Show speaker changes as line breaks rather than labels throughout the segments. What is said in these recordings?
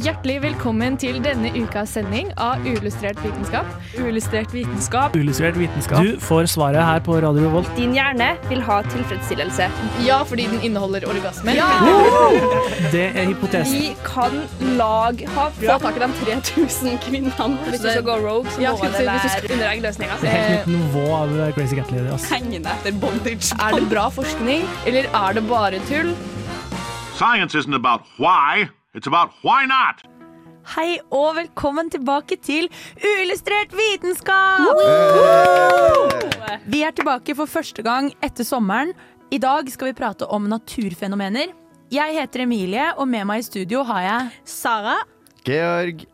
Hjertelig velkommen til denne ukas sending av Uillustrert vitenskap.
Uillustrert vitenskap.
Illustrert vitenskap.
Du får svaret her på Radio Revolt.
Din hjerne vil ha tilfredsstillelse.
Ja, fordi den inneholder orgasmer.
Det er hypotesen.
Vi kan lag ha
Bra.
få tak i de 3000 kvinnene. Hvis du
det-
skal gå rogue, så
Ja,
må
skulle
det
si, hvis du
være undereggløsninger.
Det er helt nytt nivå av eh, Crazy Cat Lady. ass.
Hengende etter bondage.
Er det bra forskning, eller er det bare tull?
Science isn't about why, it's about why not.
Hei og velkommen tilbake til Uillustrert vitenskap! Vi er tilbake for første gang etter sommeren. I dag skal vi prate om naturfenomener. Jeg heter Emilie, og med meg i studio har jeg
Sara
Georg.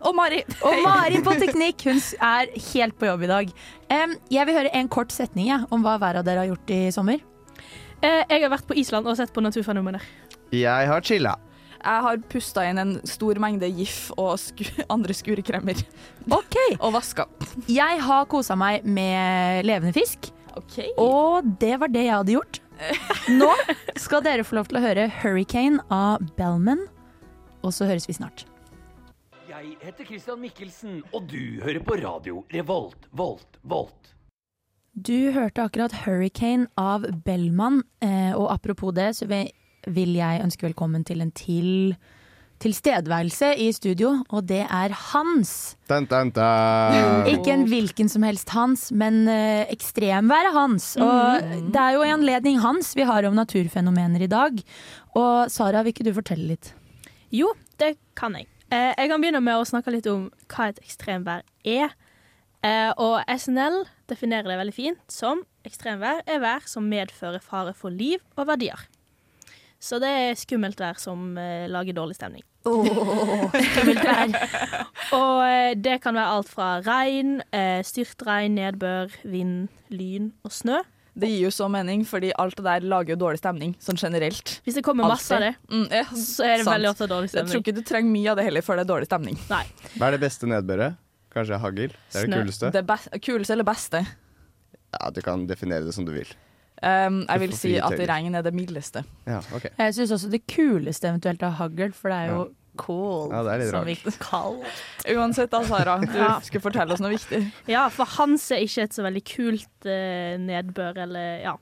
og Mari.
Og Mari på teknikk. Hun er helt på jobb i dag. Em, jeg vil høre en kort setning jeg, om hva hver av dere har gjort i sommer.
Jeg har vært på Island og sett på naturfenomener.
Jeg har chilla.
Jeg har pusta inn en stor mengde GIF og sku andre skurekremer.
Ok,
Og vaska.
Jeg har kosa meg med levende fisk,
Okay.
og det var det jeg hadde gjort. Nå skal dere få lov til å høre 'Hurricane' av Bellman, og så høres vi snart.
Jeg heter Christian Mikkelsen, og du hører på radio Revolt, Volt, Volt.
Du hørte akkurat 'Hurricane' av Bellman, eh, og apropos det, så vi- vil jeg ønske velkommen til en til tilstedeværelse i studio, og det er Hans.
Dun, dun, dun.
Ikke en hvilken som helst Hans, men eh, ekstremværet Hans. Og det er jo en anledning Hans vi har om naturfenomener i dag. Og Sara, vil ikke du fortelle litt?
Jo, det kan jeg. Eh, Jeg kan begynne med å snakke litt om hva et ekstremvær er. Eh, Og SNL definerer det veldig fint som ekstremvær er vær som medfører fare for liv og verdier. Så det er skummelt vær som eh, lager dårlig stemning.
Skummelt vær.
Og eh, det kan være alt fra regn, eh, styrtregn, nedbør, vind, lyn og snø.
Det gir jo så mening, fordi alt det der lager jo dårlig stemning, sånn generelt.
Hvis det kommer masse av det,
Mm, ja,
så er det
sant.
veldig ofte dårlig
Jeg tror
stemning.
ikke du trenger mye av det heller før det er dårlig stemning.
Hva er det beste nedbøret? Kanskje hagl? Det er det
Snø.
kuleste.
Det be- kuleste eller beste?
Ja, Du kan definere det som du vil.
Um, jeg vil
får
si
frie
at
tøyler.
regn er det mildeste.
Ja, ok.
Jeg syns også det kuleste eventuelt av hagl, for det er jo cool.
Ja, det er litt
som
rart.
vi kaller
Uansett da, Sara, du skulle fortelle oss noe viktig.
Ja, for hans er ikke et så veldig kult eh, nedbør, eller ja.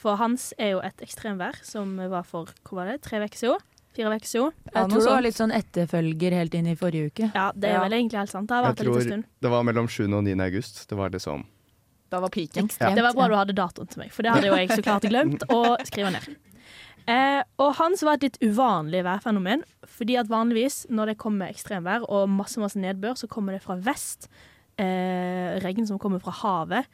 For hans er jo et ekstremvær som var for hvor var det, tre uker siden? Fire uker siden?
Ja, noe
Jeg tror det
sånt.
var litt sånn etterfølger helt inn i forrige uke.
Ja, det er
Ja.
vel egentlig helt sant. Det har
Jeg
vært en liten
tror
stund.
det var mellom 7. og 9. august. Det var det som
Da var piken.
Ekstremt,
Det var bra
ja.
du hadde datoen til meg, for det hadde jo jeg så klart glemt å skrive ned. Eh, og hans var et litt uvanlig værfenomen, fordi at vanligvis når det kommer ekstremvær og masse, masse nedbør, så kommer det fra vest. Eh, regn som kommer fra havet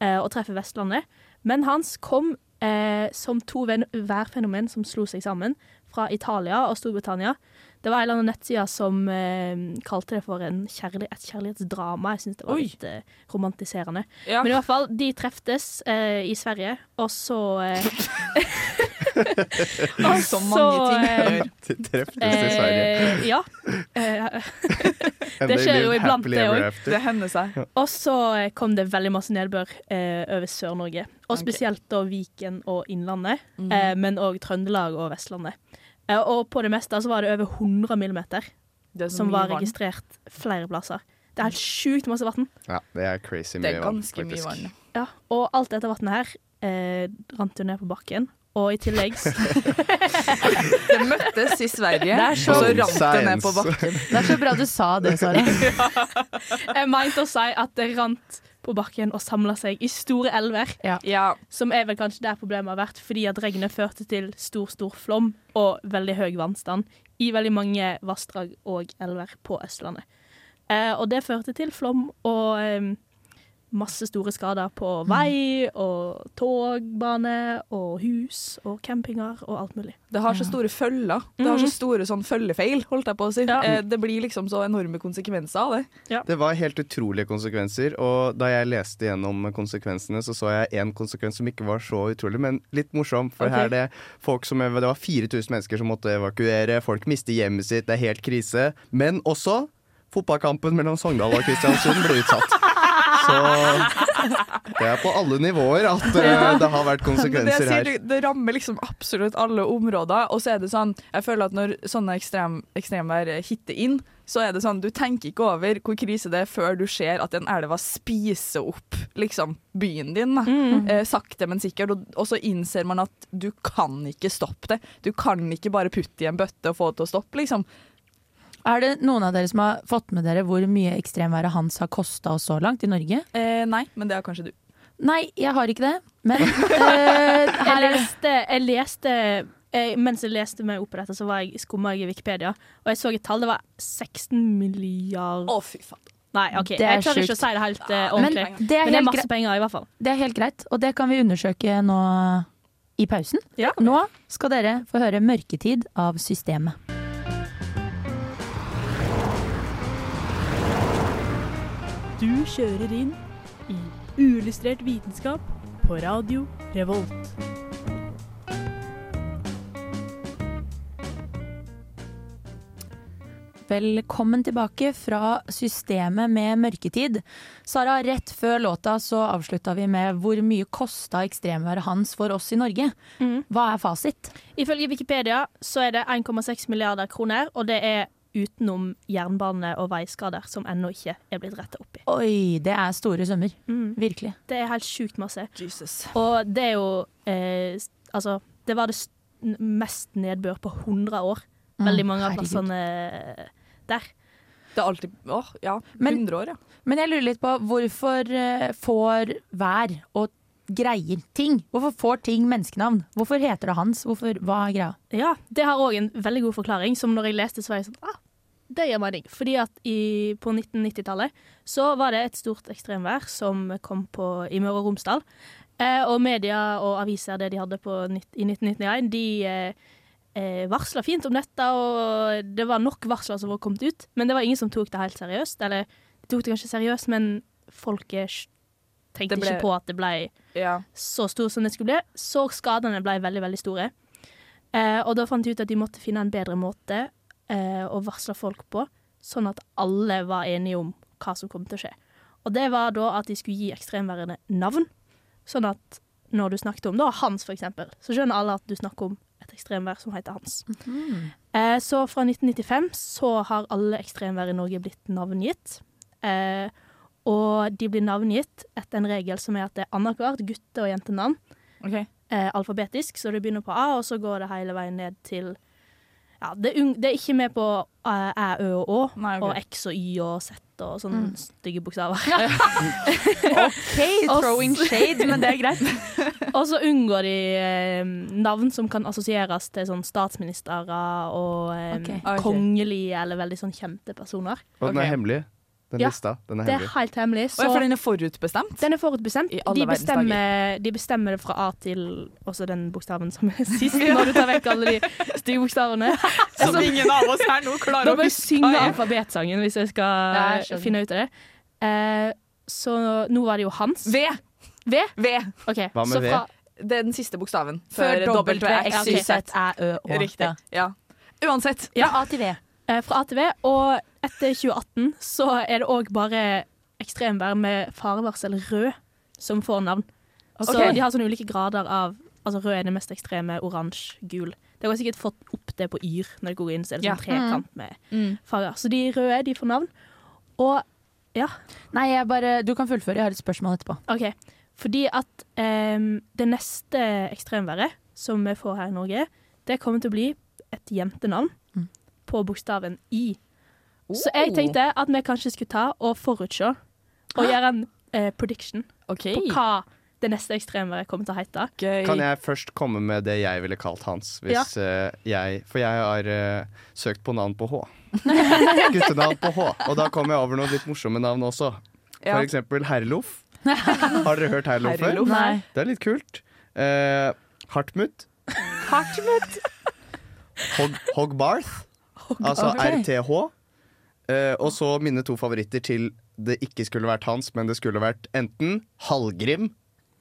eh, og treffer Vestlandet. Men hans kom eh, som to ven- værfenomen som slo seg sammen fra Italia og Storbritannia. Det var en eller annen nettside som eh, kalte det for en kjærlig, et kjærlighetsdrama. Jeg syns det var
Oi.
litt eh, romantiserende.
Ja.
Men i hvert fall, de treftes eh, i Sverige, og så eh,
Og så mange ting
eh,
gjør.
De treftes i Sverige.
eh, Ja. Eh,
And
det
they
skjer
lived
jo iblant,
happily
det
ever
òg.
after.
Det hender seg.
og så eh, kom det veldig masse nedbør eh, over Sør-Norge. Og
Ok. Mm.
spesielt da Viken og Innlandet, eh, men òg Trøndelag og Vestlandet. Eh, og på det meste så var det over 100 millimeter
Det er så
som
mye
var
vann. Mm.
registrert flere plasser. Det er helt sjukt masse vann.
Ja, det er crazy
Det
mye
er
vann,
ganske mye
faktisk.
vann.
Ja, og alt dette vannet her eh, rant jo ned på bakken. Og i tillegg s-
Det møttes i Sverige, og så
Old
rant det ned på
science.
bakken.
Det er så bra du sa det, Sara.
Jeg mente å si at det rant på bakken og samla seg i store elver,
Ja,
som er vel kanskje der problemet har vært, fordi at regnet førte til stor, stor flom og veldig høy vannstand i veldig mange vassdrag og elver på Østlandet. Eh, og det førte til flom og eh, masse store skader på
Mm.
vei og togbane og hus og campinger og alt mulig.
det har så store følger. Det har så store sånn følgefeil, holdt jeg på å si. Eh, Det blir liksom så enorme konsekvenser av det.
Det var helt utrolige konsekvenser, og da jeg leste gjennom konsekvensene, så så jeg en konsekvens som ikke var så utrolig, men litt morsom. For her er det folk som Det var 4000 mennesker som måtte evakuere, folk mister hjemmet sitt, det er helt krise. Men også fotballkampen mellom Sogndal og Kristiansund ble utsatt. Så Det er på alle nivåer at eh, det har vært
Men det, jeg
konsekvenser
sier,
her.
det, det rammer liksom absolutt alle områder. Og så er det sånn, jeg føler at når sånne ekstrem, ekstremvær eh, hitter inn, så er det sånn, du tenker ikke over hvor krise det er før du ser at en elva spiser opp liksom, byen din. Da. Eh, sakte, men sikkert. Og, og så innser man at du kan ikke stoppe det. Du kan ikke bare putte i en bøtte og få det til å stoppe, liksom.
Er det noen av dere som har fått med dere hvor mye ekstremværet hans har kosta oss så langt i Norge?
Eh, nei, men det har kanskje du.
Nei, jeg har ikke det. Men eh,
Jeg
her er det
leste, jeg leste jeg, Mens jeg leste meg opp på dette, så var jeg skumma jeg i Wikipedia, og jeg så et tall. Det var 16 milliard
Å, fy faen.
Nei, OK,
Det er
jeg tør ikke å
sjukt.
si det helt eh,
Men
ordentlig. Men,
det er,
det er
helt
masse
greit,
penger, i hvert fall.
det er helt greit, og det kan vi undersøke nå i pausen.
Ja.
Nå skal dere få høre 'Mørketid' av Systemet.
Du kjører inn i uillustrert vitenskap på Radio Revolt.
Velkommen tilbake fra Systemet med mørketid. Sara, rett før låta så avslutta vi med hvor mye kosta ekstremværet hans for oss i Norge. Hva er fasit?
Ifølge Wikipedia så er det 1,6 milliarder kroner, og det er utenom jernbane- og veiskader, som ennå ikke er blitt retta opp i.
Oi, det er store summer. Virkelig.
Det er helt sjukt masse.
Jesus.
Og det er jo eh, s- Altså, det var det s- n- mest nedbør på 100 år. Veldig mange av
Mm. herregud.
plassene eh, der.
Det er alltid, åh, ja,
Men-
100 år, ja.
Men jeg lurer litt på hvorfor eh, får vær og greier ting? Hvorfor får ting menneskenavn? Hvorfor heter det hans? Hvorfor, hva er greia?
Ja, det har òg en veldig god forklaring, som når jeg leste, så var jeg sånn ah, Det gjør mening. Fordi at i, på 1990-tallet så var det et stort ekstremvær som kom på, i Møre og Romsdal. Eh, og media og aviser, det de hadde på, nitt- i 1991, de eh, eh, varsla fint om dette, og det var nok varsler som var kommet ut, men det var ingen som tok det helt seriøst. Eller de tok det kanskje seriøst, men folket sj- tenkte
Det ble-
ikke på at det blei
ja.
så stor som det skulle bli, så skadene ble veldig, veldig store. Eh, og da fant de ut at de måtte finne en bedre måte eh, å varsle folk på, sånn at alle var enige om hva som kom til å skje. Og det var da at de skulle gi ekstremværende navn, sånn at når du snakket om da Hans, for eksempel, så skjønner alle at du snakker om et ekstremvær som heter Hans.
Mhm.
eh, så fra 1995 så har alle ekstremvær i Norge blitt navngitt. Eh, og de blir navngitt etter en regel som er at det er annethvert gutte- og jentenavn.
Ok.
Eh, alfabetisk, så det begynner på A, og så går det hele veien ned til ja, Det, er ung- det er ikke med på eh, Æ, Ø og Å,
Nei, ok. Mm.
og X og Y og Z og sånne stygge bokstaver.
Hey,
throwing
shade, men det er greit.
og så unngår de eh, navn som kan assosieres til sånn statsministre og eh,
Ok.
Ah, Ok.
kongelige eller veldig sånn kjente personer.
Og den
Ok.
er hemmelig. Den
Ja.
lista. Den er
Det er
hemmelig.
helt hemmelig.
Å, ja, for den er forutbestemt.
Den er forutbestemt.
I alle
De
verdens
bestemmer, de bestemmer det fra A til også den bokstaven som er sist, når du tar vekk alle de stygge bokstavene.
Som ingen av oss her nå klarer
Da
å
må jeg synge
hva er-
alfabetsangen hvis jeg skal
Ja, jeg skjønner.
finne ut av det. Eh, så nå var det jo Hans.
V.
V?
V.
Ok,
Hva med
så
V?
fra-
Det er den siste bokstaven.
Før dobbelt
W, X, Y, Z.
Æ, Ø, Å.
Riktig. Ja. Uansett.
Ja. Fra A til V.
eh, fra A til V. Og etter 2018 så er det òg bare ekstremvær med farevarsel rød som får navn. Så
Ok.
de har sånne ulike grader av Altså rød er det mest ekstreme, oransje, gul. De har sikkert fått opp det på Yr når de går inn, så er det sånn trekant med farger. Så de røde, de får navn. Og ja,
Nei, jeg bare, du kan fullføre. Jeg har et spørsmål etterpå.
OK. Fordi at em, det neste ekstremværet som vi får her i Norge, det kommer til å bli et jentenavn på bokstaven I. Så jeg tenkte at vi kanskje skulle ta og forutse og gjøre en eh, prediction
OK.
på hva det neste ekstremværet kommer til å hete.
Kan jeg først komme med det jeg ville kalt hans? Hvis, eh, jeg, for jeg har eh, søkt på navn på H. Guttenavn på H. Og da kom jeg over noen litt morsomme navn også.
Ja.
For eksempel Herlof. Har dere hørt Herlof før?
Herlof.
Nei.
Det er litt kult. Eh, Hartmut. Hog Hogbarth. Altså
Ok.
RTH. Eh, og så mine to favoritter til det ikke skulle vært hans, men det skulle vært enten Hallgrim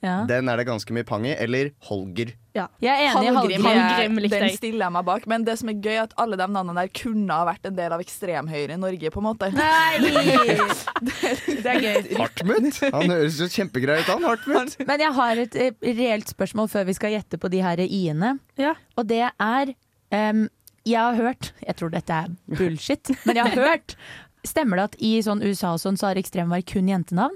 Ja.
Den er det ganske mye pang i. Eller Holger.
Jeg er enig i
Hallgrim,
Hallgrim.
Hallgrim likte
den
jeg.
stiller jeg meg bak. Men det som er gøy, er at alle de navnene der kunne ha vært en del av ekstremhøyre i Norge, på en måte.
Nei!
Det er gøy.
Hartmut! Han høres jo kjempegrei ut, han Hartmut.
Men jeg har et eh, reelt spørsmål før vi skal gjette på de her i-ene.
Ja.
Og det er em, Jeg har hørt Jeg tror dette er bullshit, men jeg har hørt Stemmer det at i sånn USA og sånn så har ekstremvær kun jentenavn?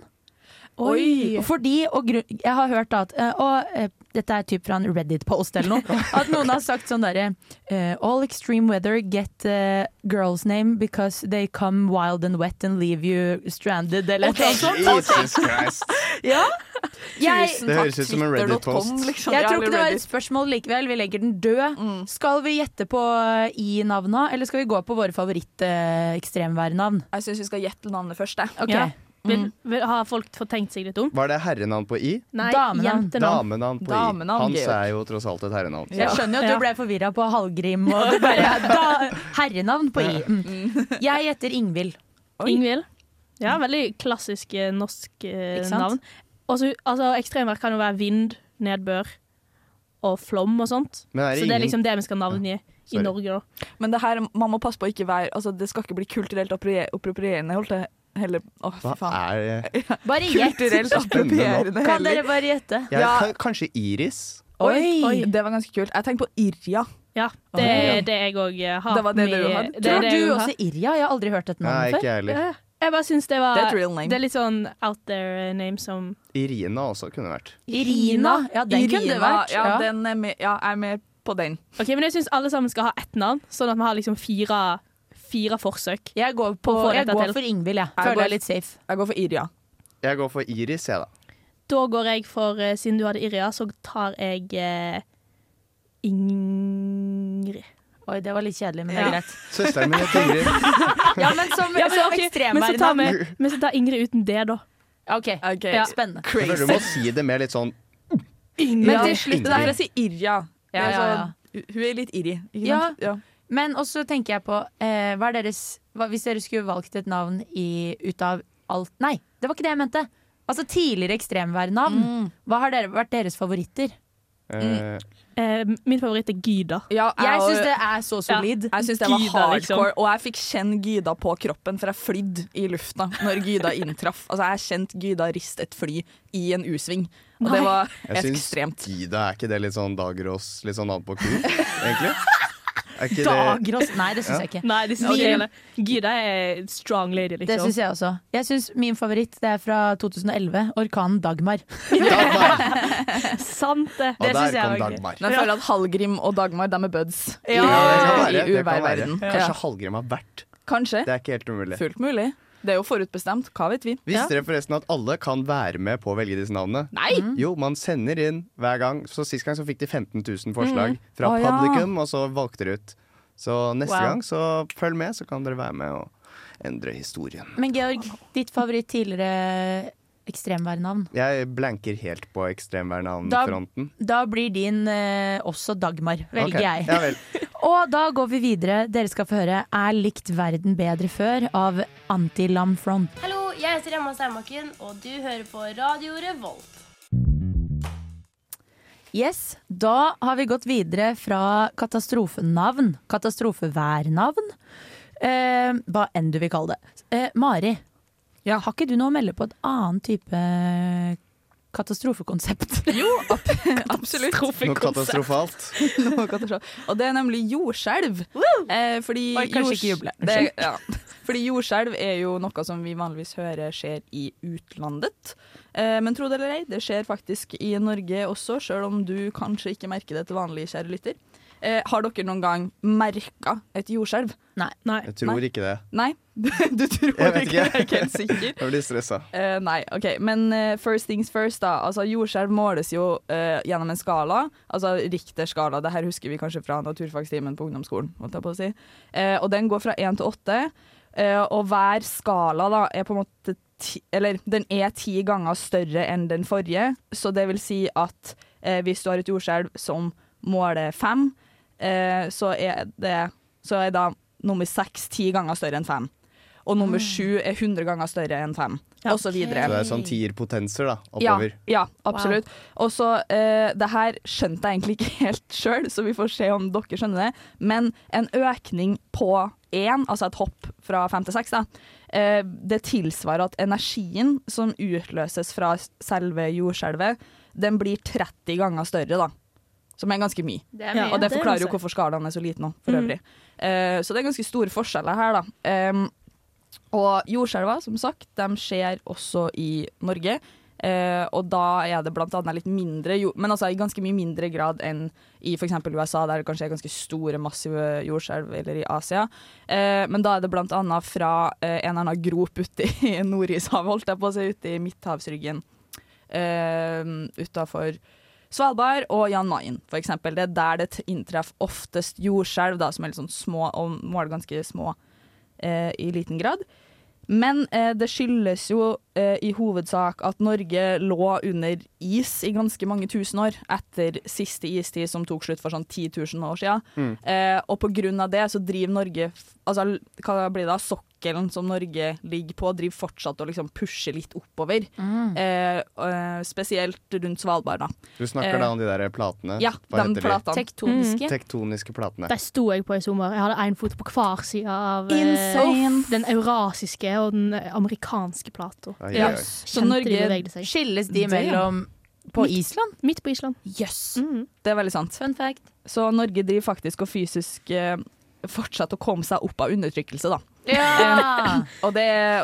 Oi.
Fordi, og grunn- Jeg har hørt da at eh, Og eh, dette er typ fra en Reddit-post eller noe. At noen har sagt sånn derre eh, All extreme weather get eh, girls name because they come wild and wet and leave you stranded eller noe sånt.
Jesus Christ.
Ja. Jeg,
Tusen
Det
takk,
høres ut som en
twitter.com,
Reddit-post.
liksom.
jeg
Ja,
tror ikke
eller
det var et
Reddit.
spørsmål likevel. Vi legger den død. Skal vi gjette på eh, i-navna, eller skal vi gå på våre favoritt-ekstremværnavn?
Jeg syns vi skal gjette navnet først. jeg.
Ok.
Ja. Vil, vil, har folk fått tenkt seg litt om?
Var det herrenavn på I?
Nei,
Damenavn.
jentenavn.
Damenavn på I.
Damenavn,
Hans
Georg.
er jo tross alt et herrenavn.
Jeg skjønner jo at
Ja.
du ble forvirra på Hallgrim og det bare da, Herrenavn på i. Mm. Jeg gjetter Ingvild.
Ingvild. Ja,
Mm.
veldig klassisk eh, norsk eh,
Ikke sant?
navn. Også, altså, ekstremvær kan jo være vind, nedbør og flom og sånt.
Men er det
Så det er
ingen-
liksom det vi skal navngi
sorry.
i Norge, da.
Men det her, man må passe på å ikke være altså, Det skal ikke bli kulturelt approprie- approprierende. Holdt jeg heller Å, fy
Hva
faen.
er det?
Bare gjett.
Kulturelt approprierende
Kan
heller.
dere bare gjette?
Jeg,
Ja.
kan- Kanskje Iris?
Oi.
Oi.
Det var ganske kult. Jeg tenkte på Irja.
Ja, det er det jeg òg har.
Det var det du
med-
hadde.
det er
Tror
det
du
jeg har.
også Irja? Jeg har aldri hørt et
Nei,
navn
ikke
før.
jeg heller.
Ja. Jeg bare syns det var
Det er et real name.
Det er litt sånn out there name som
Irina også kunne vært.
Irina. Ja, den kunne det
Irina,
vært.
Ja,
Ja.
Den er eh, med, ja, jeg er med på den.
OK, men jeg syns alle sammen skal ha ett navn, sånn at vi har liksom fire, fire forsøk.
Jeg går, på,
Få
jeg
dette
går
til.
for Ingvild, jeg.
Jeg
Føler
går-
jeg er litt safe.
Jeg går for Irja.
Jeg går for Iris, jeg, da.
Da går jeg for eh, Siden du hadde Irja, så tar jeg eh, Ingrid.
Oi, det var litt kjedelig, men det
Ja.
er greit.
Søsteren min heter Ingrid.
Ja, men som,
Ja,
som
men, ok, men, så tar
ekstremværnavn.
vi, men så tar Ingrid uten det, da.
Ok,
Ok.
Ja. spennende.
Jeg føler du må si det mer litt sånn
Men til slutt,
Ingrid.
det er derfor jeg sier Irja.
Ja,
Altså,
ja, ja.
hu- Hun er litt irri, ikke
Ja.
sant? Ja.
Men også tenker jeg på eh, hva er deres, hva, Hvis dere skulle valgt et navn i, ut av alt Nei, det var ikke det jeg mente. Altså tidligere ekstremværnavn. Hva har dere, vært deres favoritter?
eh,
Eh, min favoritt er Gyda.
Ja,
Jeg
og-
syns det er så solid.
jeg synes det var
Gyda,
hardcore,
liksom.
og jeg fikk kjenne Gyda på kroppen, for jeg flydde i lufta når Gyda inntraff. Altså, jeg kjente Gyda riste et fly i en U-sving, og det var
jeg syns
ekstremt.
Gida er ikke det litt sånn Dagerås, litt sånn annen på ku, egentlig? Er ikke det
Dagros Nei, det syns jeg ikke.
Nei, det syns
Ok.
jeg heller. Gyda er strong lady, liksom.
Det syns jeg også. Jeg syns min favoritt det er fra 2011. Orkanen Dagmar.
Dagmar!
Sant, det.
Og
Det
der
syns jeg
kom
var gøy.
Dagmar.
Men jeg føler at Hallgrim og Dagmar de er buds
Ja, det kan
i,
være.
i
Det kan være.
uværverden.
Kanskje Hallgrim har vært.
Kanskje.
Det er ikke helt umulig.
Fullt mulig. Det er jo forutbestemt. Hva vet vi?
Visste dere forresten at alle kan være med på å velge disse navnene? Mm.
Nei!
Jo, man sender inn hver gang. Så Sist gang så fikk de 15 000 forslag fra
Mm. Å, ja.
publikum, og så valgte dere ut. Så neste
Wow.
gang, så følg med, så kan dere være med og endre historien.
Men Georg, ditt favoritt tidligere ekstremværnavn?
Jeg blanker helt på
Da-
ekstremværnavnfronten.
Da blir din eh, også Dagmar, velger
Ok.
jeg.
Ja vel.
Og da går vi videre. Dere skal få høre 'Er likt verden bedre før' av Anti-Lam Front.
Hallo, jeg heter Emma Steinbakken, og du hører på Radio Revolt.
Yes, Da har vi gått videre fra katastrofenavn, katastrofeværnavn, eh, hva enn du vil kalle det. Eh, Mari, har ikke du noe å melde på et annet type katastrofekonsept?
Jo, ab absolutt.
Noe katastrofalt.
Noe katastrofe. Og det er nemlig jordskjelv. Eh, fordi
Oi, kanskje
jords-
ikke juble.
Det, ja. Fordi jordskjelv er jo noe som vi vanligvis hører skjer i utlandet. Eh, men tro det eller ei, det skjer faktisk i Norge også, sjøl om du kanskje ikke merker det til vanlig, kjære lytter. Eh, har dere noen gang merka et jordskjelv?
Nei.
Jeg tror ikke det.
Nei, du tror
Jeg
ikke,
vet
jeg
ikke.
er ikke helt sikker.
Jeg blir stressa.
Eh, nei, ok. Men eh, first things first, da. Altså, jordskjelv måles jo eh, gjennom en skala. Altså Richter-skala. Det her husker vi kanskje fra naturfagstimen på ungdomsskolen. Holdt jeg på å si. Eh, og den går fra én til åtte. Eh, og hver skala da er på en måte ti, Eller den er ti ganger større enn den forrige. Så det vil si at eh, hvis du har et jordskjelv som måler fem, eh, så er det Så er da nummer seks ti ganger større enn fem. og nummer sju er 100 ganger større enn fem, og så videre.
Så det er sånn tierpotenser, da, oppover.
Ja, ja absolutt. Og så eh, Det her skjønte jeg egentlig ikke helt sjøl, så vi får se om dere skjønner det. Men en økning på én, altså et hopp fra fem til seks, da, eh, det tilsvarer at energien som utløses fra selve jordskjelvet, den blir 30 ganger større, da. Som er ganske mye.
Det er mye.
Og det
Det er
forklarer jo
altså.
masse.
hvorfor skalaen er så liten nå, for
Mm.
øvrig. Eh, så det er ganske store forskjeller her, da. Em, og jordskjelver, som sagt, de skjer også i Norge. Eh, og da er det blant annet litt mindre jord, men altså i ganske mye mindre grad enn i f.eks. USA, der det kanskje er ganske store, massive jordskjelv, eller i Asia. Eh, men da er det blant annet fra eh, en eller annen grop ute i Nordishavet, holdt jeg på å si, ute i Midthavsryggen eh, utafor Svalbard og Jan Mayen, for eksempel. Det er der det t- inntreffer oftest jordskjelv, da, som er litt sånn små, og måler ganske små eh, i liten grad. Men eh, det skyldes jo eh, i hovedsak at Norge lå under is i ganske mange tusen år etter siste istid, som tok slutt for sånn 10 000 år siden.
Mm.
Eh, og på grunn av det så driver Norge f- Altså, l- hva blir det da? Sokkelen som Norge ligger på, driver fortsatt og liksom pusher litt oppover.
Mm.
Eh, og, eh, spesielt rundt Svalbard, da.
Du snakker
Eh,
da om de der platene?
ja,
Hva
de
heter de?
platene. Tektoniske. Mm.
Tektoniske platene.
Der sto jeg på i sommer. Jeg hadde én fot på hver side av eh,
Insane.
den eurasiske og den amerikanske plata.
Ai, ai, ai.
Så Norge
skilles de mellom på Island?
Midt på Island.
Jøss.
Det er veldig sant. Så Norge driver faktisk og fysisk eh, fortsatt å komme seg opp av undertrykkelse, da.
Ja.
Eh, og det,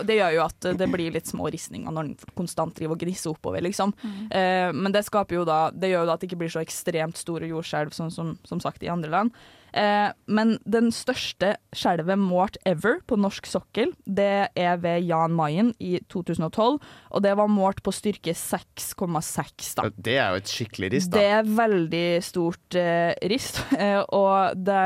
det gjør jo at det blir litt små ristninger når en konstant driver og gnisser oppover, liksom.
Mm.
Eh, men det skaper jo da Det gjør jo da at det ikke blir så ekstremt store jordskjelv, sånn som, som sagt, i andre land. Eh, men den største skjelvet målt ever på norsk sokkel, det er ved Jan Mayen i 2012, og det var målt på styrke 6,6, da.
Det er jo et skikkelig rist,
Det
da.
er veldig stort eh, rist, eh, og det,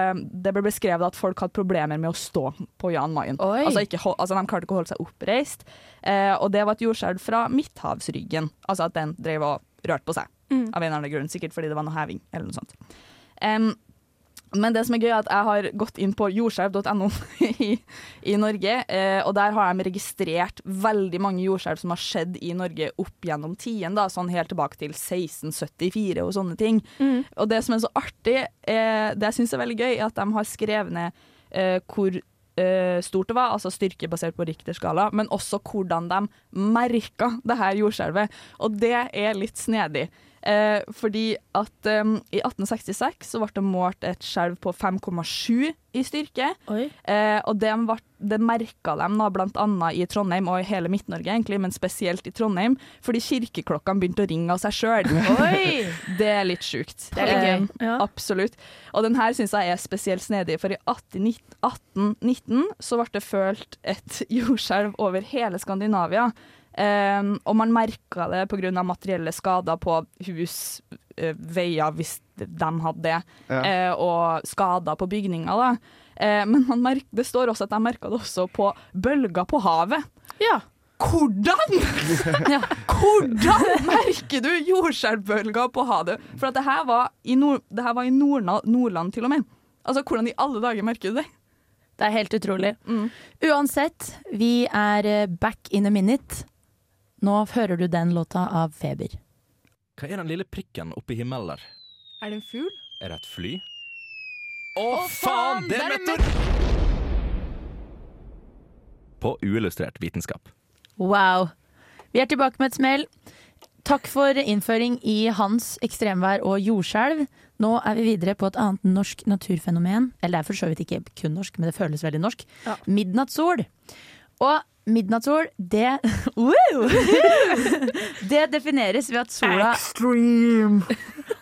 det ble beskrevet at folk hadde problemer med å stå på Jan Mayen.
Oi.
Altså, ikke, hol- altså, de klarte ikke å holde seg oppreist, eh, og det var et jordskjelv fra Midthavsryggen. Altså at den drev og rørte på seg,
Mm.
av en eller annen grunn. Sikkert fordi det var noe heving, eller noe sånt. Em, men det som er gøy, er at jeg har gått inn på jordskjelv.no i, i Norge, eh, og der har de registrert veldig mange jordskjelv som har skjedd i Norge opp gjennom tiden, da, sånn helt tilbake til 1674 og sånne ting.
Mm.
Og det som er så artig, eh, det jeg syns er veldig gøy, er at de har skrevet ned eh, hvor eh, stort det var, altså styrke basert på Richter-skala, men også hvordan de merka det her jordskjelvet. Og det er litt snedig. Eh, fordi at eh, i 1866 så ble det målt et skjelv på 5,7 i styrke. Eh, og det, ble, det merka de da, blant annet i Trondheim og i hele Midt-Norge, egentlig, men spesielt i Trondheim, fordi kirkeklokkene begynte å ringe av seg sjøl.
Oi!
Det er litt sjukt.
Det er litt gøy.
Eh, Absolutt. Og den her syns jeg er spesielt snedig, for i 1819 1819 så ble det følt et jordskjelv over hele Skandinavia. Eh, og man merka det pga. materielle skader på hus, eh, veier, hvis de hadde det,
Ja.
eh, og skader på bygninger. Da. Eh, men man merk, det står også at de merka det også på bølger på havet. Hvordan?! Hvordan merker du jordskjelvbølger på havet? For at det her var i, nord, det her var i Nordna- Nordland til og med. Altså, hvordan i alle dager merker du det?
Det er helt utrolig. Uansett, vi er eh, back in a minute. Nå hører du den låta av Feber.
Hva er den lille prikken oppe i himmelen der?
Er det en fugl?
Er det et fly?
Å, faen! Det er meteor!
På uillustrert vitenskap.
Wow. Vi er tilbake med et smell. Takk for innføring i hans ekstremvær og jordskjelv. Nå er vi videre på et annet norsk naturfenomen. Eller det er for så vidt ikke kun norsk, men det føles veldig norsk. Midnattssol. Og midnattssol, det wow! Det defineres ved at sola Extreme.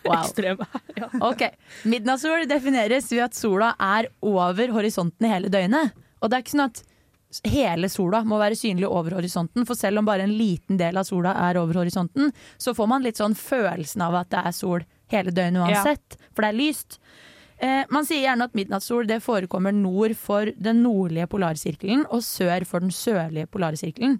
Wow.
Ekstrem.
Ok. Midnattssol defineres ved at sola er over horisonten i hele døgnet. Og det er ikke sånn at hele sola må være synlig over horisonten, for selv om bare en liten del av sola er over horisonten, så får man litt sånn følelsen av at det er sol hele døgnet uansett, for det er lyst. Eh, man sier gjerne at midnattssol det forekommer nord for den nordlige polarsirkelen og sør for den sørlige polarsirkelen.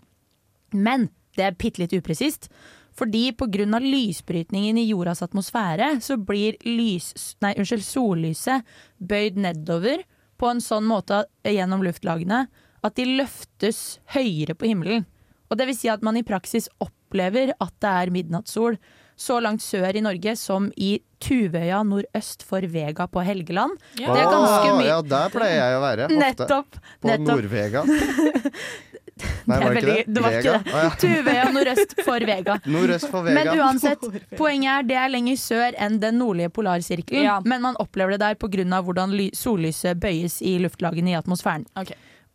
Men det er bitte litt upresist. Fordi pga. lysbrytningen i jordas atmosfære, så blir lys, nei, unnskyld, sollyset bøyd nedover på en sånn måte gjennom luftlagene at de løftes høyere på himmelen. Og det vil si at man i praksis opplever at det er midnattssol så langt sør i Norge som i Tuvøya nordøst for Vega på Helgeland.
Ja. Ah, Ja, der pleier jeg å være. Ofte.
Nettopp.
På
nettopp.
Nordvega. Nei,
Det
var
er
det ikke
veldig-
det?
det var ikke
Vega?
det.
Å, ja.
Tuvøya nordøst for Vega.
Nordøst for Vega.
Men uansett, poenget er det er lenger sør enn den nordlige polarsirkelen.
Ja.
Men man opplever det der pga. hvordan ly- sollyset bøyes i luftlagene i atmosfæren.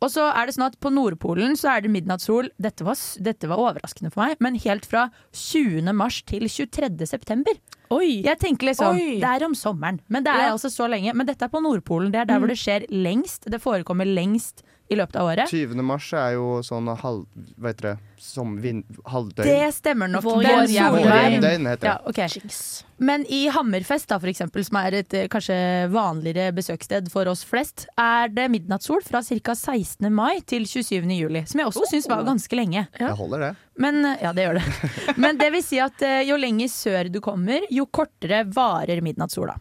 Og så er det sånn at På Nordpolen så er det midnattssol. Dette var, s- dette var overraskende for meg, men helt fra 20. mars til 23. september. Jeg tenker liksom,
Oi.
Det er om sommeren, men det er
Ja. Mm.
altså så lenge. Men dette er på Nordpolen. Det er der hvor det skjer lengst. Det forekommer lengst i løpet av året.
20. mars er jo sånn halv... Hva heter det? Som vind... Halvdøgn.
Det stemmer nok.
Vår-
Den
Vår-
sommeren.
Vårjevndøgn heter det.
Ja, ok. Men i Hammerfest, da, for eksempel, som er et eh, kanskje vanligere besøkssted for oss flest, er det midnattssol fra ca. 16. mai til 27. juli. Som jeg også synes syns var ganske lenge.
Det holder, det.
Men, eh, ja, det gjør det. Men det vil si at eh, jo lenger sør du kommer, jo kortere varer midnattssola.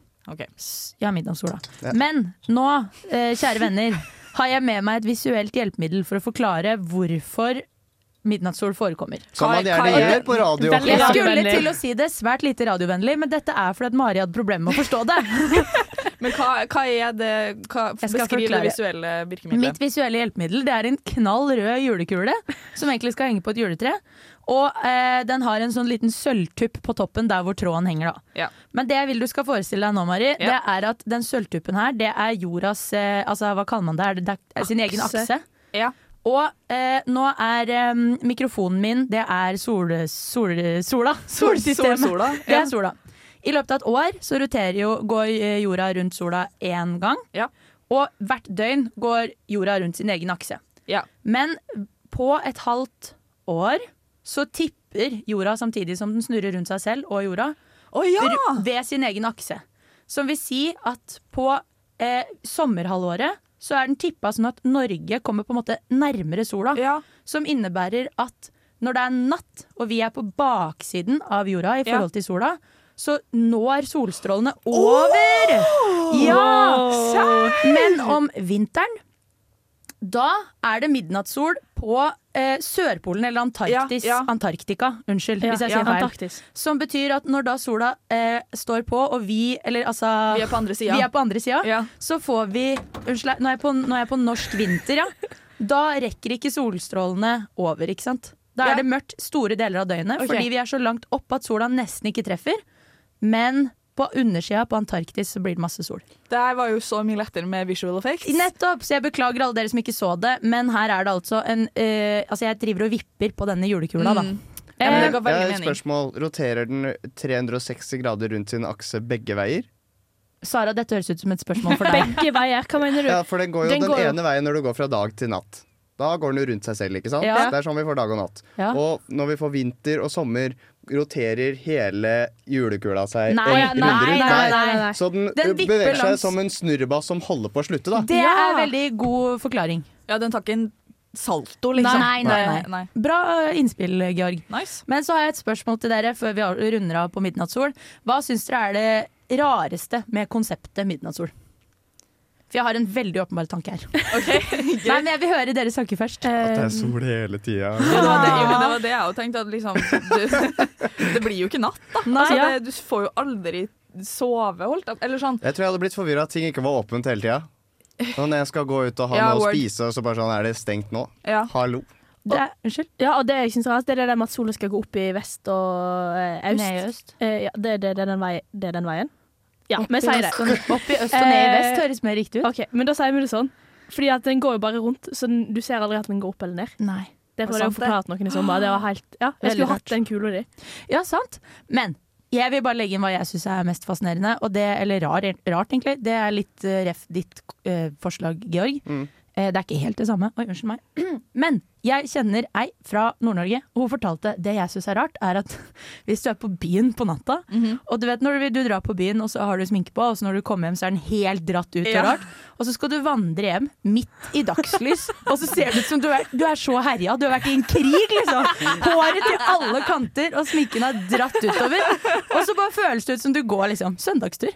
S- Ja, midnattssola.
Ja.
Men nå, eh, kjære venner, har jeg med meg et visuelt hjelpemiddel for å forklare hvorfor midnattssol forekommer.
Som man Sånn gjerne Kai- Kai- gjør på radio. Veldig
Jeg skulle
radiovennlig.
til å si det, svært lite radiovennlig, men dette er fordi at Mari hadde problemer med å forstå det.
Men hva, hva er det hva,
Jeg skal
Beskriv det
forklare.
visuelle virkemidlet.
Mitt visuelle hjelpemiddel det er en knall rød julekule som egentlig skal henge på et juletre. Og eh, den har en sånn liten sølvtupp på toppen der hvor tråden henger. da
Ja.
Men det jeg vil du skal forestille deg nå, Mari, det er at den sølvtuppen her, det er jordas eh, Altså, hva kaller man det? Er det, det er sin egen
Akse.
akse? Og eh, nå er eh, mikrofonen min Det er sol, sol, sola.
Sol-
Solsystemet.
solsola, ja.
Det er sola. I løpet av et år så roterer jo, går eh, jorda rundt sola én gang. Og hvert døgn går jorda rundt sin egen akse.
Ja.
Men på et halvt år så tipper jorda samtidig som den snurrer rundt seg selv og jorda, r- ved sin egen akse. Som vil si at på eh, sommerhalvåret så er den tippa sånn at Norge kommer på en måte nærmere sola. Som innebærer at når det er natt, og vi er på baksiden av jorda i
Ja.
forhold til sola, så når solstrålene over! Ja! Men om vinteren, da er det midnattssol på eh, Sørpolen, eller Antarktis.
Ja, ja.
Antarktika, unnskyld
Ja,
hvis jeg
ja,
sier feil.
Antarktis.
Som betyr at når da sola eh, står på, og vi, eller altså
Vi er på andre sida.
vi er på andre sida, så får vi Unnskyld, nå er, jeg på, nå er jeg på norsk vinter, ja. Da rekker ikke solstrålene over, ikke sant? Da er
Ja.
det mørkt store deler av døgnet,
Ok.
fordi vi er så langt opp at sola nesten ikke treffer. Men på undersida på Antarktis så blir det masse sol.
Det her var jo så mye lettere med visual effects.
Nettopp! Så jeg beklager alle dere som ikke så det, men her er det altså en eh, Altså, jeg driver og vipper på denne julekula, da.
Mm.
Eh,
Jeg har et spørsmål. Roterer den 360 grader rundt sin akse begge veier?
Sara, dette høres ut som et spørsmål for deg.
Begge veier, hva mener du?
Ja, for den går jo den,
går jo-
ene veien når du går fra dag til natt. Da går den jo rundt seg selv, ikke sant?
Ja.
Det er sånn vi får dag og natt.
Ja.
Og når vi får vinter og sommer, roterer hele julekula seg
Nei,
en
nei,
runde rundt.
nei, nei, nei.
Så den,
Den vipper
beveger seg
langs-
som en snurrebass som holder på å slutte, da.
Det er veldig god forklaring.
Ja, den tar ikke en salto, liksom.
Nei, nei, nei. Bra eh, innspill, Georg. Men så har jeg et spørsmål til dere før vi av- runder av på Midnattssol. Hva syns dere er det rareste med konseptet Midnattssol? For jeg har en veldig åpenbar tanke her. nei, men jeg vil høre dere snakke først. Eh,
Det er sol hele tida.
Ja, det, var det, jo, men det var det jeg òg tenkte. At liksom, det, det blir jo ikke natt, da.
Nei,
altså,
ja.
det, du får jo aldri sove, holdt opp. Eller sånn.
Jeg tror jeg hadde blitt forvirra at ting ikke var åpent hele tida. Og når jeg skal gå ut og ha
Ja,
noe å
word.
spise, og så bare sånn er det stengt nå.
Ja.
Hallo.
Unnskyld?
Ja, og det jeg synes er rart, det er det der med at sola skal gå opp i vest og eh, øst.
Ned i øst.
Eh, ja, det, det, det, er den vei, det er den veien. Ja,
Opp
vi
i
sier det.
øst og- opp i øst og ned i vest
Eh,
høres mer riktig ut.
Ok, men da sier vi det sånn. Fordi at den går jo bare rundt, så den, du ser aldri at den går opp eller ned.
Nei.
Det
Var
får jeg jo
sant det?
forklart noen i sommer. Det var helt, ja, jeg
Veldig
skulle hatt den kula di.
Ja, sant. Men jeg vil bare legge inn hva jeg syns er mest fascinerende, og det, eller rar, rart egentlig. Det er litt eh, ref ditt eh, forslag, Georg. Eh, det er ikke helt det samme. Oi, unnskyld meg. Men jeg kjenner ei fra Nord-Norge, og hun fortalte det jeg syns er rart, er at hvis du er på byen på natta, og du vet når du, du drar på byen, og så har du sminke på, og så når du kommer hjem, så er den helt dratt ut og
Ja.
rart, og så skal du vandre hjem midt i dagslys, og så ser det ut som du er, du er så herja, du har vært i en krig, liksom. Håret til alle kanter, og sminken er dratt utover. Og så bare føles det ut som du går liksom søndagstur.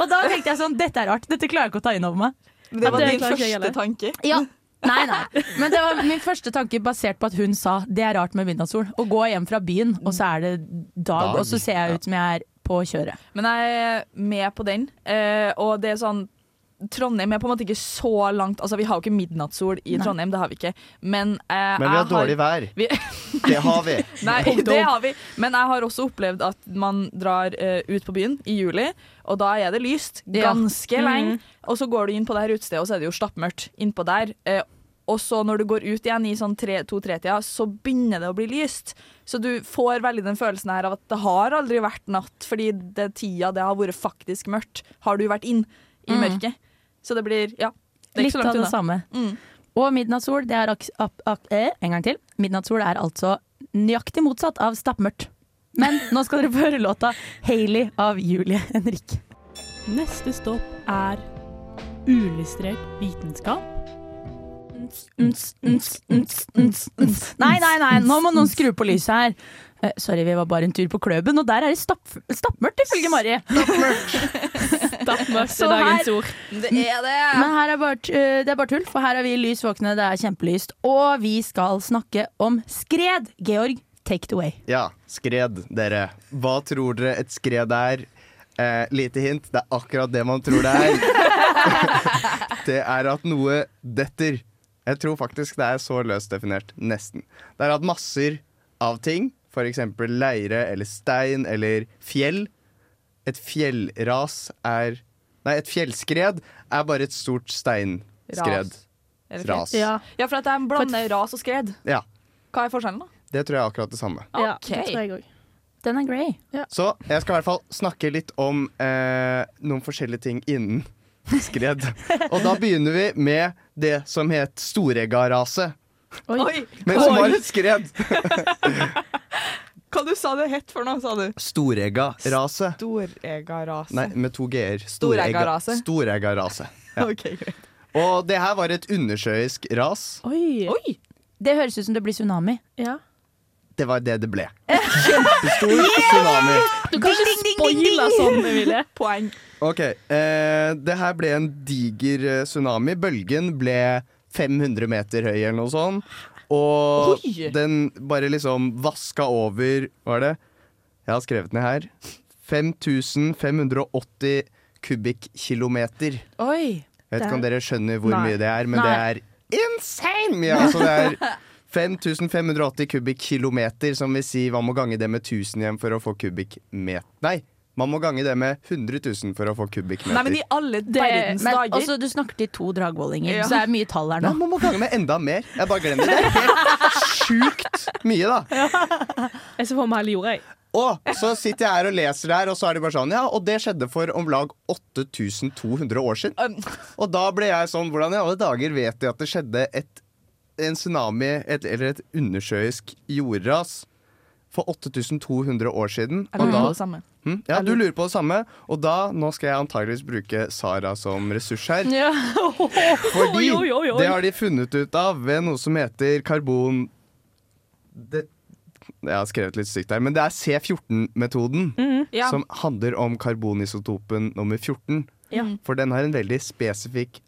Og da tenkte jeg sånn, dette er rart, dette klarer jeg ikke å ta inn over meg.
Det var
At
din første tanke.
Ja. Nei, nei. Men det var min første tanke basert på at hun sa det er rart med midnattssol. Å gå hjem fra byen, og så er det dag,
Dag,
og så ser jeg ut som jeg er på kjøret.
Men jeg er med på den. Eh, og det er sånn Trondheim er på en måte ikke så langt Altså, vi har jo ikke midnattssol i
Nei.
Trondheim, det har vi ikke. Men, eh,
Men vi har
jeg
dårlig vær.
Vi-
Det har vi.
Nei, det har vi. Men jeg har også opplevd at man drar eh, ut på byen i juli, og da er det lyst
Ja.
ganske
Mhm.
lenge. Og så går du inn på det her utestedet, og så er det jo stappmørkt innpå der. Eh, og så når du går ut igjen i sånn to-tre-tida, så begynner det å bli lyst. Så du får veldig den følelsen her av at det har aldri vært natt, fordi det tida det har vært faktisk mørkt, har du vært inn i
Mm.
mørket. Så det blir, ja. Det er
Litt
ikke så
av
langt
det
unna. Mm.
samme. Og midnattssol, det er ak ak ak eh, En gang til. Midnattssol er altså nøyaktig motsatt av stappmørkt. Men nå skal dere få høre låta 'Hailey' av Julie Henrik.
Neste stopp er uillustrert vitenskap.
Nei, nei, nei, nå må noen skru på lyset her. Eh, sorry, vi var bare en tur på kløben, og der er det stapp, stappmørkt, ifølge Mari.
Stappmørkt
Så
er dagens
her-
ord.
Det er det.
Men her er bare, t- eh, det er bare tull, for her er vi lys våkne, det er kjempelyst. Og vi skal snakke om skred. Georg, take it away.
Ja, skred, dere. Hva tror dere et skred er? Eh, lite hint, det er akkurat det man tror det er. det er at noe detter. Jeg tror faktisk det er så løst definert. Nesten. Det er at masser av ting, f.eks. leire eller stein eller fjell Et fjellras er Nei, et fjellskred er bare et stort steinskred.
Ras. Er det
Ras.
fint? Ja. ja, for at det er en blande ras og skred.
Ja.
Hva er forskjellen, da?
Det tror jeg er akkurat det samme.
Ja, det tror jeg òg.
Den er grey.
Så jeg skal i hvert fall snakke litt om eh, noen forskjellige ting innen skred. Og da begynner vi med det som het Storegga-raset.
Oi.
Men som var et skred.
Hva du sa det het for noe, sa du?
Storegga-raset.
Storegga-raset.
Nei, med to g-er.
Storegga-raset.
Storegga-raset. Ja.
Ok, greit.
Og det her var et undersjøisk ras.
Oi. Det høres ut som det blir tsunami.
Ja.
Det var det det ble. Kjempestor tsunami.
Du kan ikke spoile sånn, Emilie.
Poeng.
Ok, eh, det her ble en diger eh, tsunami. Bølgen ble 500 meter høy eller noe sånt. Og
Oi!
den bare liksom vaska over Hva er det? Jeg har skrevet ned her. 5580 kubikkilometer.
Oi.
Jeg vet ikke om dere skjønner hvor
Nei.
mye det er, men
Nei.
det er insane mye! Altså, det er 5580 kubikkilometer, som vil si man må gange det med 1000 igjen for å få kubikkmeter. Nei, man må gange det med 100 000 for å få kubikkmeter.
Nei, men i alle
Det-
verdens
men
dager
altså, du snakket i to dragvollinger,
Ja.
så det er mye tall her
Nei,
nå.
man må gange med enda mer. Jeg bare glemmer det. Det er helt sjukt mye, da.
Jeg ser for meg hele jorda, jeg.
Og så sitter jeg her og leser det her, og så er det bare sånn Ja, og det skjedde for om lag 8200 år siden. Og da ble jeg sånn Hvordan i alle dager vet de at det skjedde et, en tsunami et, eller et undersjøisk jordras for 8200 år siden?
Jeg lurer
og da,
på det samme.
Hm? Ja, du lurer på det samme. Og da, nå skal jeg antageligvis bruke Sara som ressurs her.
Ja.
Fordi
Oi, oi, oi.
det har de funnet ut av ved noe som heter karbon... Det, jeg har skrevet litt stygt her, men det er C14-metoden.
Mhm. Ja.
Som handler om karbonisotopen nummer 14.
Ja.
For den har en veldig spesifikk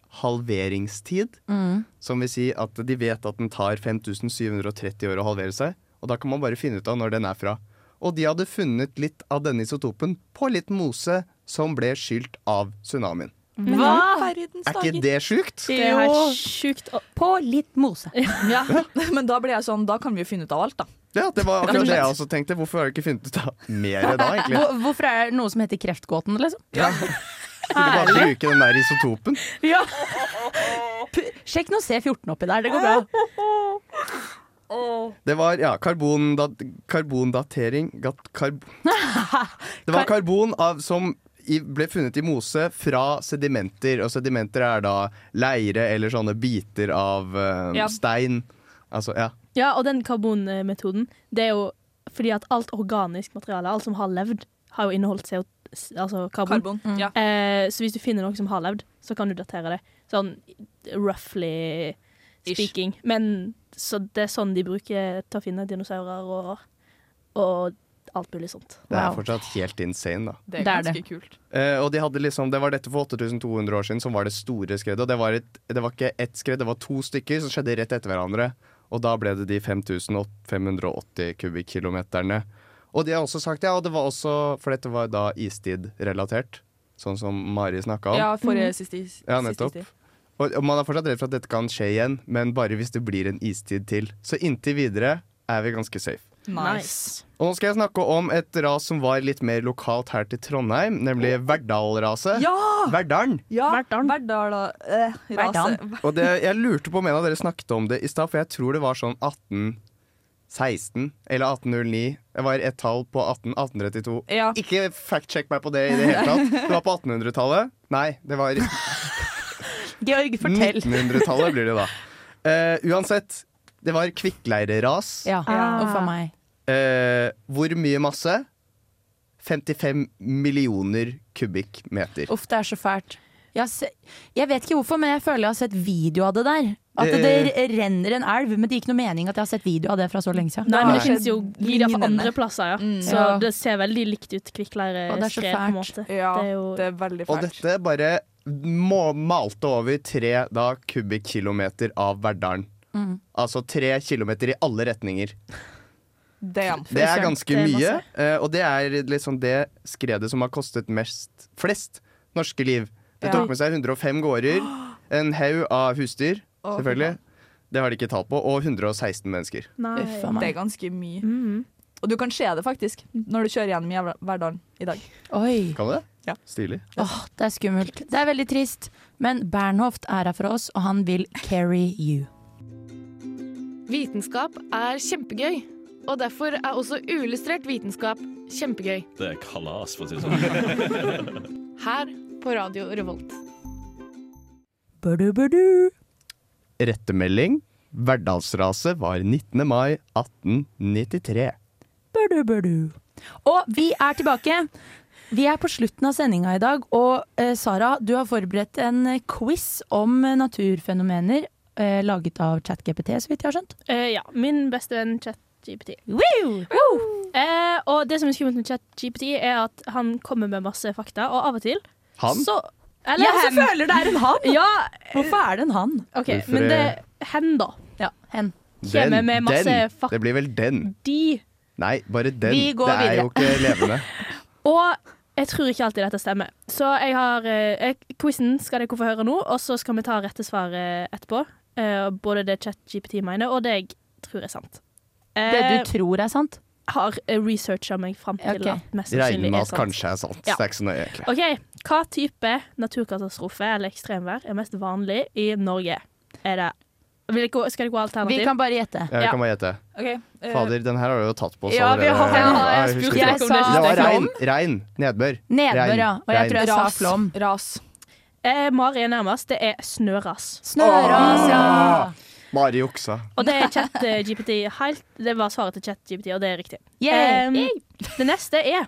halveringstid.
Mhm.
Som vil si at de vet at den tar 5730 år å halvere seg. Og da kan man bare finne ut av når den er fra. Og de hadde funnet litt av denne isotopen på litt mose som ble skylt av tsunamien.
Men i all verdens
Er ikke
dager.
det sjukt?
Det er helt sjukt.
På litt mose.
Ja. Men da blir jeg sånn, da kan vi jo finne ut av alt, da.
Ja, det var
Rett og
akkurat det jeg
slett.
også tenkte. Hvorfor har du ikke funnet ut av mer da, egentlig?
Hvor, hvorfor er det noe som heter kreftgåten, liksom?
Skulle bare
Ærlig?
bruke den der isotopen.
Ja. P- Sjekk noe C14 oppi der, det går bra.
Det var ja, karbondat karbondatering gat- karb Det var karbon av, som i, ble funnet i mose fra sedimenter, og sedimenter er da leire eller sånne biter av eh,
Ja.
stein. Altså, ja.
Ja, og den karbonmetoden, det er jo fordi at alt organisk materiale, alt som har levd, har jo inneholdt CO, altså karbon.
Karbon, Mm. ja.
eh, så hvis du finner noe som har levd, så kan du datere det. Sånn roughly speaking. Men så det er sånn de bruker til å finne dinosaurer og, og alt mulig sånt.
Det er fortsatt helt insane, da.
Det er Det er ganske det. kult.
Eh, og de hadde liksom, det var dette for 8200 år siden som var det store skredet. Og det var, et, det var ikke ett skred, det var to stykker som skjedde rett etter hverandre. Og da ble det de 5580 kubikkilometerne. Og de har også sagt ja, det var også For dette var da istid-relatert, sånn som Mari snakka om.
Ja,
Mm.
forrige siste is- siste
Ja, nettopp.
istid.
Og, og man er fortsatt redd for at dette kan skje igjen, men bare hvis det blir en istid til. Så inntil videre er vi ganske safe.
Nice.
Og nå skal jeg snakke om et ras som var litt mer lokalt her til Trondheim, nemlig Verdal-raset.
Ja!
Verdalen.
Ja, Verdal. eh, rase.
Og det, jeg lurte på om en av dere snakket om det i stad, for jeg tror det var sånn 1816 eller 1809. Det var et tall på 18, 1832.
Ja.
Ikke fact-check meg på det i det hele tatt. Det var på 1800-tallet. Nei, det var
Georg,
1900-tallet blir det da. Eh, uansett, det var kvikkleireras.
Ja.
Ah.
Uff a meg.
Eh, hvor mye masse? 55 millioner kubikkmeter.
Uff, det er så fælt. Jeg, har se, jeg vet ikke hvorfor, men jeg føler jeg har sett video av det der. At det
Eh.
renner en elv, men det gir ikke noe mening at jeg har sett video av det fra så lenge siden.
Nei, men det
Nei.
finnes jo videoer fra andre plasser, ja. Så
Mm. Ja.
det ser veldig likt ut, kvikkleire
Og det er så
skred, på en
fælt.
måte.
Ja,
det er jo
eh, det er veldig
Og dette bare må, malte over tre da, kubikkilometer av Verdalen.
Mm.
Altså tre kilometer i alle retninger.
Damn.
Det er ganske mye, eh, og det er liksom det skredet som har kostet mest, flest norske liv. Det
Ja.
tok med seg 105 gårder, en haug av husdyr,
Å, fy
selvfølgelig. Det har de ikke tall på. Og 116 mennesker.
Nei. Det er ganske mye. Og du kan se det faktisk når du kjører gjennom jævla- Verdalen i dag.
Oi.
Kan du det?
Ja.
Stilig.
Åh, det er skummelt. Det er veldig trist. Men Bernhoft er her for oss, og han vil carry you.
Vitenskap er kjempegøy, og derfor er også uillustrert vitenskap kjempegøy.
Det er kalas, for å si det sånn.
Her på Radio Revolt.
Rettemelding. Verdalsraset var 19. mai 1893.
Badu, badu. Og vi er tilbake. Vi er på slutten av sendinga i dag, og eh, Sara, du har forberedt en eh, quiz om eh, naturfenomener eh, laget av ChatGPT, så vidt jeg har skjønt.
Eh, ja. Min beste venn ChatGPT. Eh, og det som er skummelt med ChatGPT, er at han kommer med masse fakta, og av og til
Han?
så
Ja, så føler det er en han.
Ja,
Hvorfor er det en han?
OK,
Hvorfor
men det
er-
Hen, da.
eh, Ja, hen.
Kommer med masse
den.
fakta.
Det blir vel den. Nei, bare den.
Vi går
det er jo
videre.
ikke levende.
Og jeg tror ikke alltid dette stemmer. Så jeg har eh, quizen skal dere få høre nå, og så skal vi ta rette svaret etterpå. Eh, både det ChatGPT mener, og det jeg tror er sant. Eh,
Det du tror er sant?
Har researcha meg fram til
Ok.
at mest
Regner
sannsynlig
med
er
at
sant.
kanskje er sant.
Ja.
Det er ikke så nøye, egentlig.
OK. Hva type naturkatastrofe eller ekstremvær er mest vanlig i Norge? Er det vil dere, gå- Skal dere gå alternativ?
Vi kan bare gjette.
Ja, vi kan bare gjette. Fader, den her har du jo tatt på oss
Ja, vi har-
allerede.
ja, jeg
Ja, jeg
spurte
husker
ikke
det.
om det.
Det var
Flom?
regn. Regn. Nedbør.
Nedbør,
Regn.
ja. Og jeg
Regn.
tror jeg sa Ras. flom.
Ras.
Eh, Mari er nærmest. Det er snøras.
Snøras, ja.
Bare juksa.
Og det er eh, ChatGPT helt Det var svaret til ChatGPT, og det er riktig.
Yay!
Em, det neste er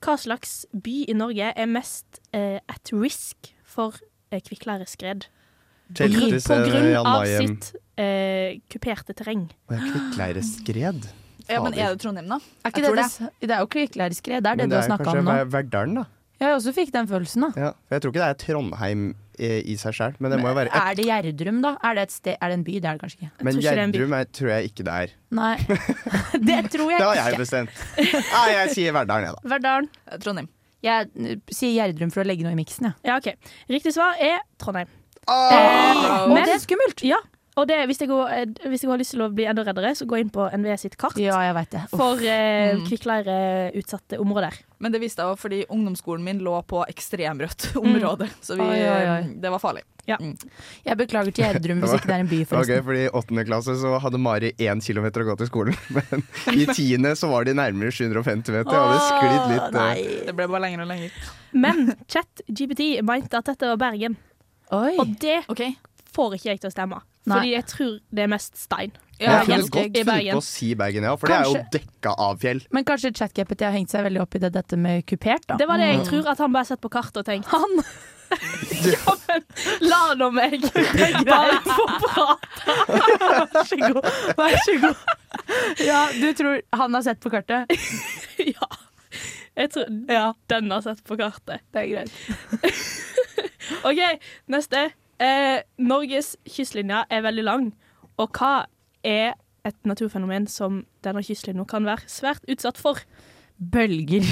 hva slags by i Norge er mest eh, at risk for eh, kvikkleireskred? På,
Kjeldtis
gru-
er det
på grunn
Jan
av
Mayen.
sitt eh, kuperte terreng.
Og jeg kvikkleire skred.
Ja, men er
Fader.
det Trondheim, da?
Er ikke
Jeg tror
det, det. er jo kvikkleireskred, det er det
Men
du har
er
snakka om
kanskje
nå.
Ver- Verdalen, da.
Jeg også fikk den følelsen, da.
Ja. For jeg tror ikke det er Trondheim eh, i seg sjøl, men det må jo være
Er det Gjerdrum, da? Er det, et sted, er det en by? Det er det kanskje ikke.
Men Gjerdrum er- tror jeg ikke det er.
Nei. Det tror
Det
jeg
har jeg
ikke.
bestemt. Nei, jeg sier Verdalen, jeg, da.
Verdalen.
Trondheim.
Jeg eh, sier Gjerdrum for å legge noe i miksen, jeg.
Ja, OK. Riktig svar er Trondheim.
Ah!
Eh, men- det er
skummelt. Ja. Og det, hvis, jeg går, eh, hvis jeg har lyst til å bli enda reddere, så gå inn på NVE sitt kart
Ja, jeg vet det. Uff.
for eh,
Mm.
kvikkleireutsatte områder.
Men det visste jeg også fordi ungdomsskolen min lå på ekstremrødt
Mm.
område, så vi, eh,
Oi, oi, oi.
det var farlig. Mm.
Jeg beklager til Gjerdrum hvis ikke det er en by,
Det var gøy,
forresten.
fordi I åttende klasse så hadde Mari én kilometer å gå til skolen. Men i tiende så var de nærmere 750 meter. Jeg hadde sklidd litt. eh,
Det ble bare lenger og lenger.
Men ChatGPT mente at dette var Bergen. Og det får ikke jeg til å stemme.
Nei.
Fordi jeg tror det er mest
Men
stein.
jeg kunne
Bergen.
godt
I
funnet på
Bergen.
å si Bergen, ja. For det er jo
Kanskje-
dekka av fjell.
Men kanskje ChatGPT har hengt seg veldig opp i det, dette med kupert, da.
Det var det jeg tror, at han bare satt på kartet og tenkte Han! ja, men la nå meg bare få prate!
Vær så god. Vær så god. Ja, du tror han har sett på kartet?
ja. Jeg tror den har sett på kartet. Det er greit. OK, neste. Eh, Norges kystlinje er veldig lang, og hva er et naturfenomen som denne kystlinja kan være svært utsatt for?
Bølger.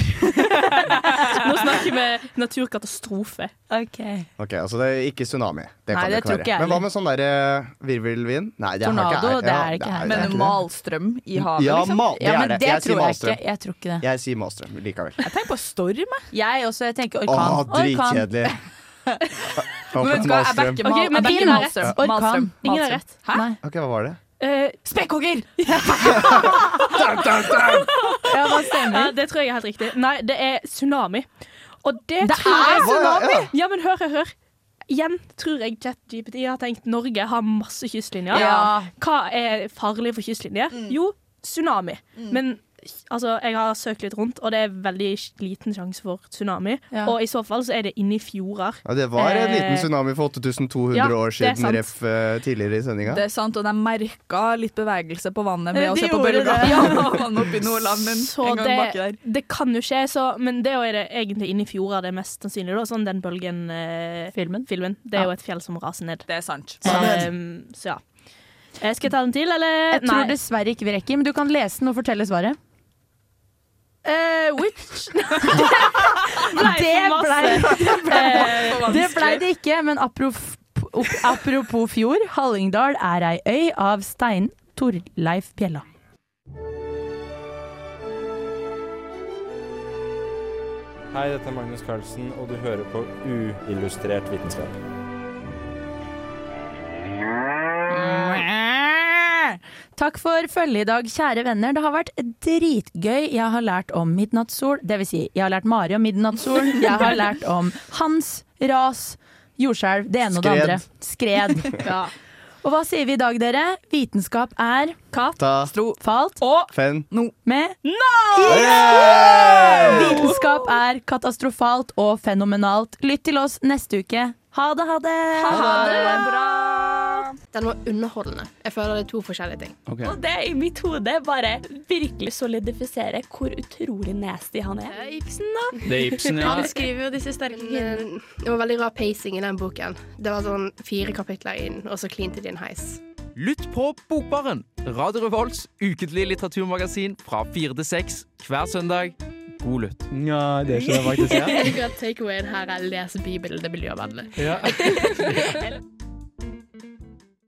Nå snakker vi naturkatastrofe.
Okay.
Ok, altså det er ikke tsunami. Det
Nei,
kan det
det
ikke
tror
være.
ikke jeg
Men hva med sånn der eh, virvelvind? Nei, det har
Tornado,
ikke
det er
ja,
ikke her.
det
Men
ikke det.
malstrøm i havet,
ja,
liksom?
mal- det
Ja, men
er det.
det tror
Jeg sier
jeg
malstrøm.
ikke. Jeg tror ikke det.
Jeg sier malstrøm likevel.
Jeg tenker på storm.
Jeg også. Jeg tenker
Å,
orkan.
dritkjedelig.
Men
Håkon
hva er
Malstrøm.
Berkemann? Ok, men ingen har rett. Orkan. Ingen har rett.
Hæ? Ok, hva var det?
Eh,
Spekkhogger!
Ja, det stemmer. det tror jeg er helt riktig. Nei, det er tsunami. Og det,
Det
tror
er
jeg
tsunami?
Ja. men hør, hør, hør. Igjen tror jeg ChatGPT har tenkt Norge har masse kystlinjer.
Ja.
Hva er farlig for kystlinjer? Jo, tsunami. Men altså, jeg har søkt litt rundt, og det er veldig liten sjanse for tsunami.
Ja.
Og i så fall så er det inni fjorder.
Ja, det var en liten
Eh,
tsunami for 8200
ja,
år
det er
siden,
sant.
ref eh, tidligere i sendinga.
Det er sant, og de merka litt bevegelse på vannet med
Eh,
å
de
se på
gjorde det.
bølger. Ja, vann oppe i Nordland, men
Så
en gang
det,
baki der.
det kan jo skje, så, men det er jo er det egentlig inni fjorda det er mest sannsynlig. Da, sånn den bølgen eh, filmen. Det er
Ja.
jo et fjell som raser ned.
Det er sant.
Så, ehm, så ja. Eh, Skal jeg ta den til, eller?
Jeg tror dessverre ikke vi rekker, men du kan lese den og fortelle svaret.
Eh, which Nei,
Det
for
blei
masse.
det, blei,
Eh, for
det, blei
vanskelig.
det ikke, men apropos, apropos fjord. Hallingdal er ei øy av Stein Torleif Bjella.
Hei, dette er Magnus Carlsen, og du hører på Uillustrert vitenskap.
Takk for følget i dag, kjære venner. Det har vært dritgøy. Jeg har lært om midnattssol. Det vil si, jeg har lært Mari om midnattssol. Jeg har lært om Hans, ras, jordskjelv, det ene og det
Skred.
andre. Skred.
Ja.
Og hva sier vi i dag, dere? Vitenskap er Falt.
Og
Fenn.
med Vitenskap er katastrofalt og fenomenalt. Lytt til oss neste uke. Ha det, ha det!
Den var underholdende. Jeg føler det er to forskjellige ting.
Og det i mitt hode bare virkelig solidifisere hvor utrolig nasty han er.
Ibsen, da.
Det er Ibsen, ja.
Han skriver jo disse sterke kvinnene. Det var veldig rar pacing i den boken. Det var sånn fire kapitler inn, og så klinte de en heis.
Lytt på Bokbaren, Radio Revolts ukentlige litteraturmagasin fra fire til seks hver søndag. God lytt.
Ja, det skjer faktisk,
Jeg liker at takeawayen her er les Bibelen, det er miljøvennlig.
ja.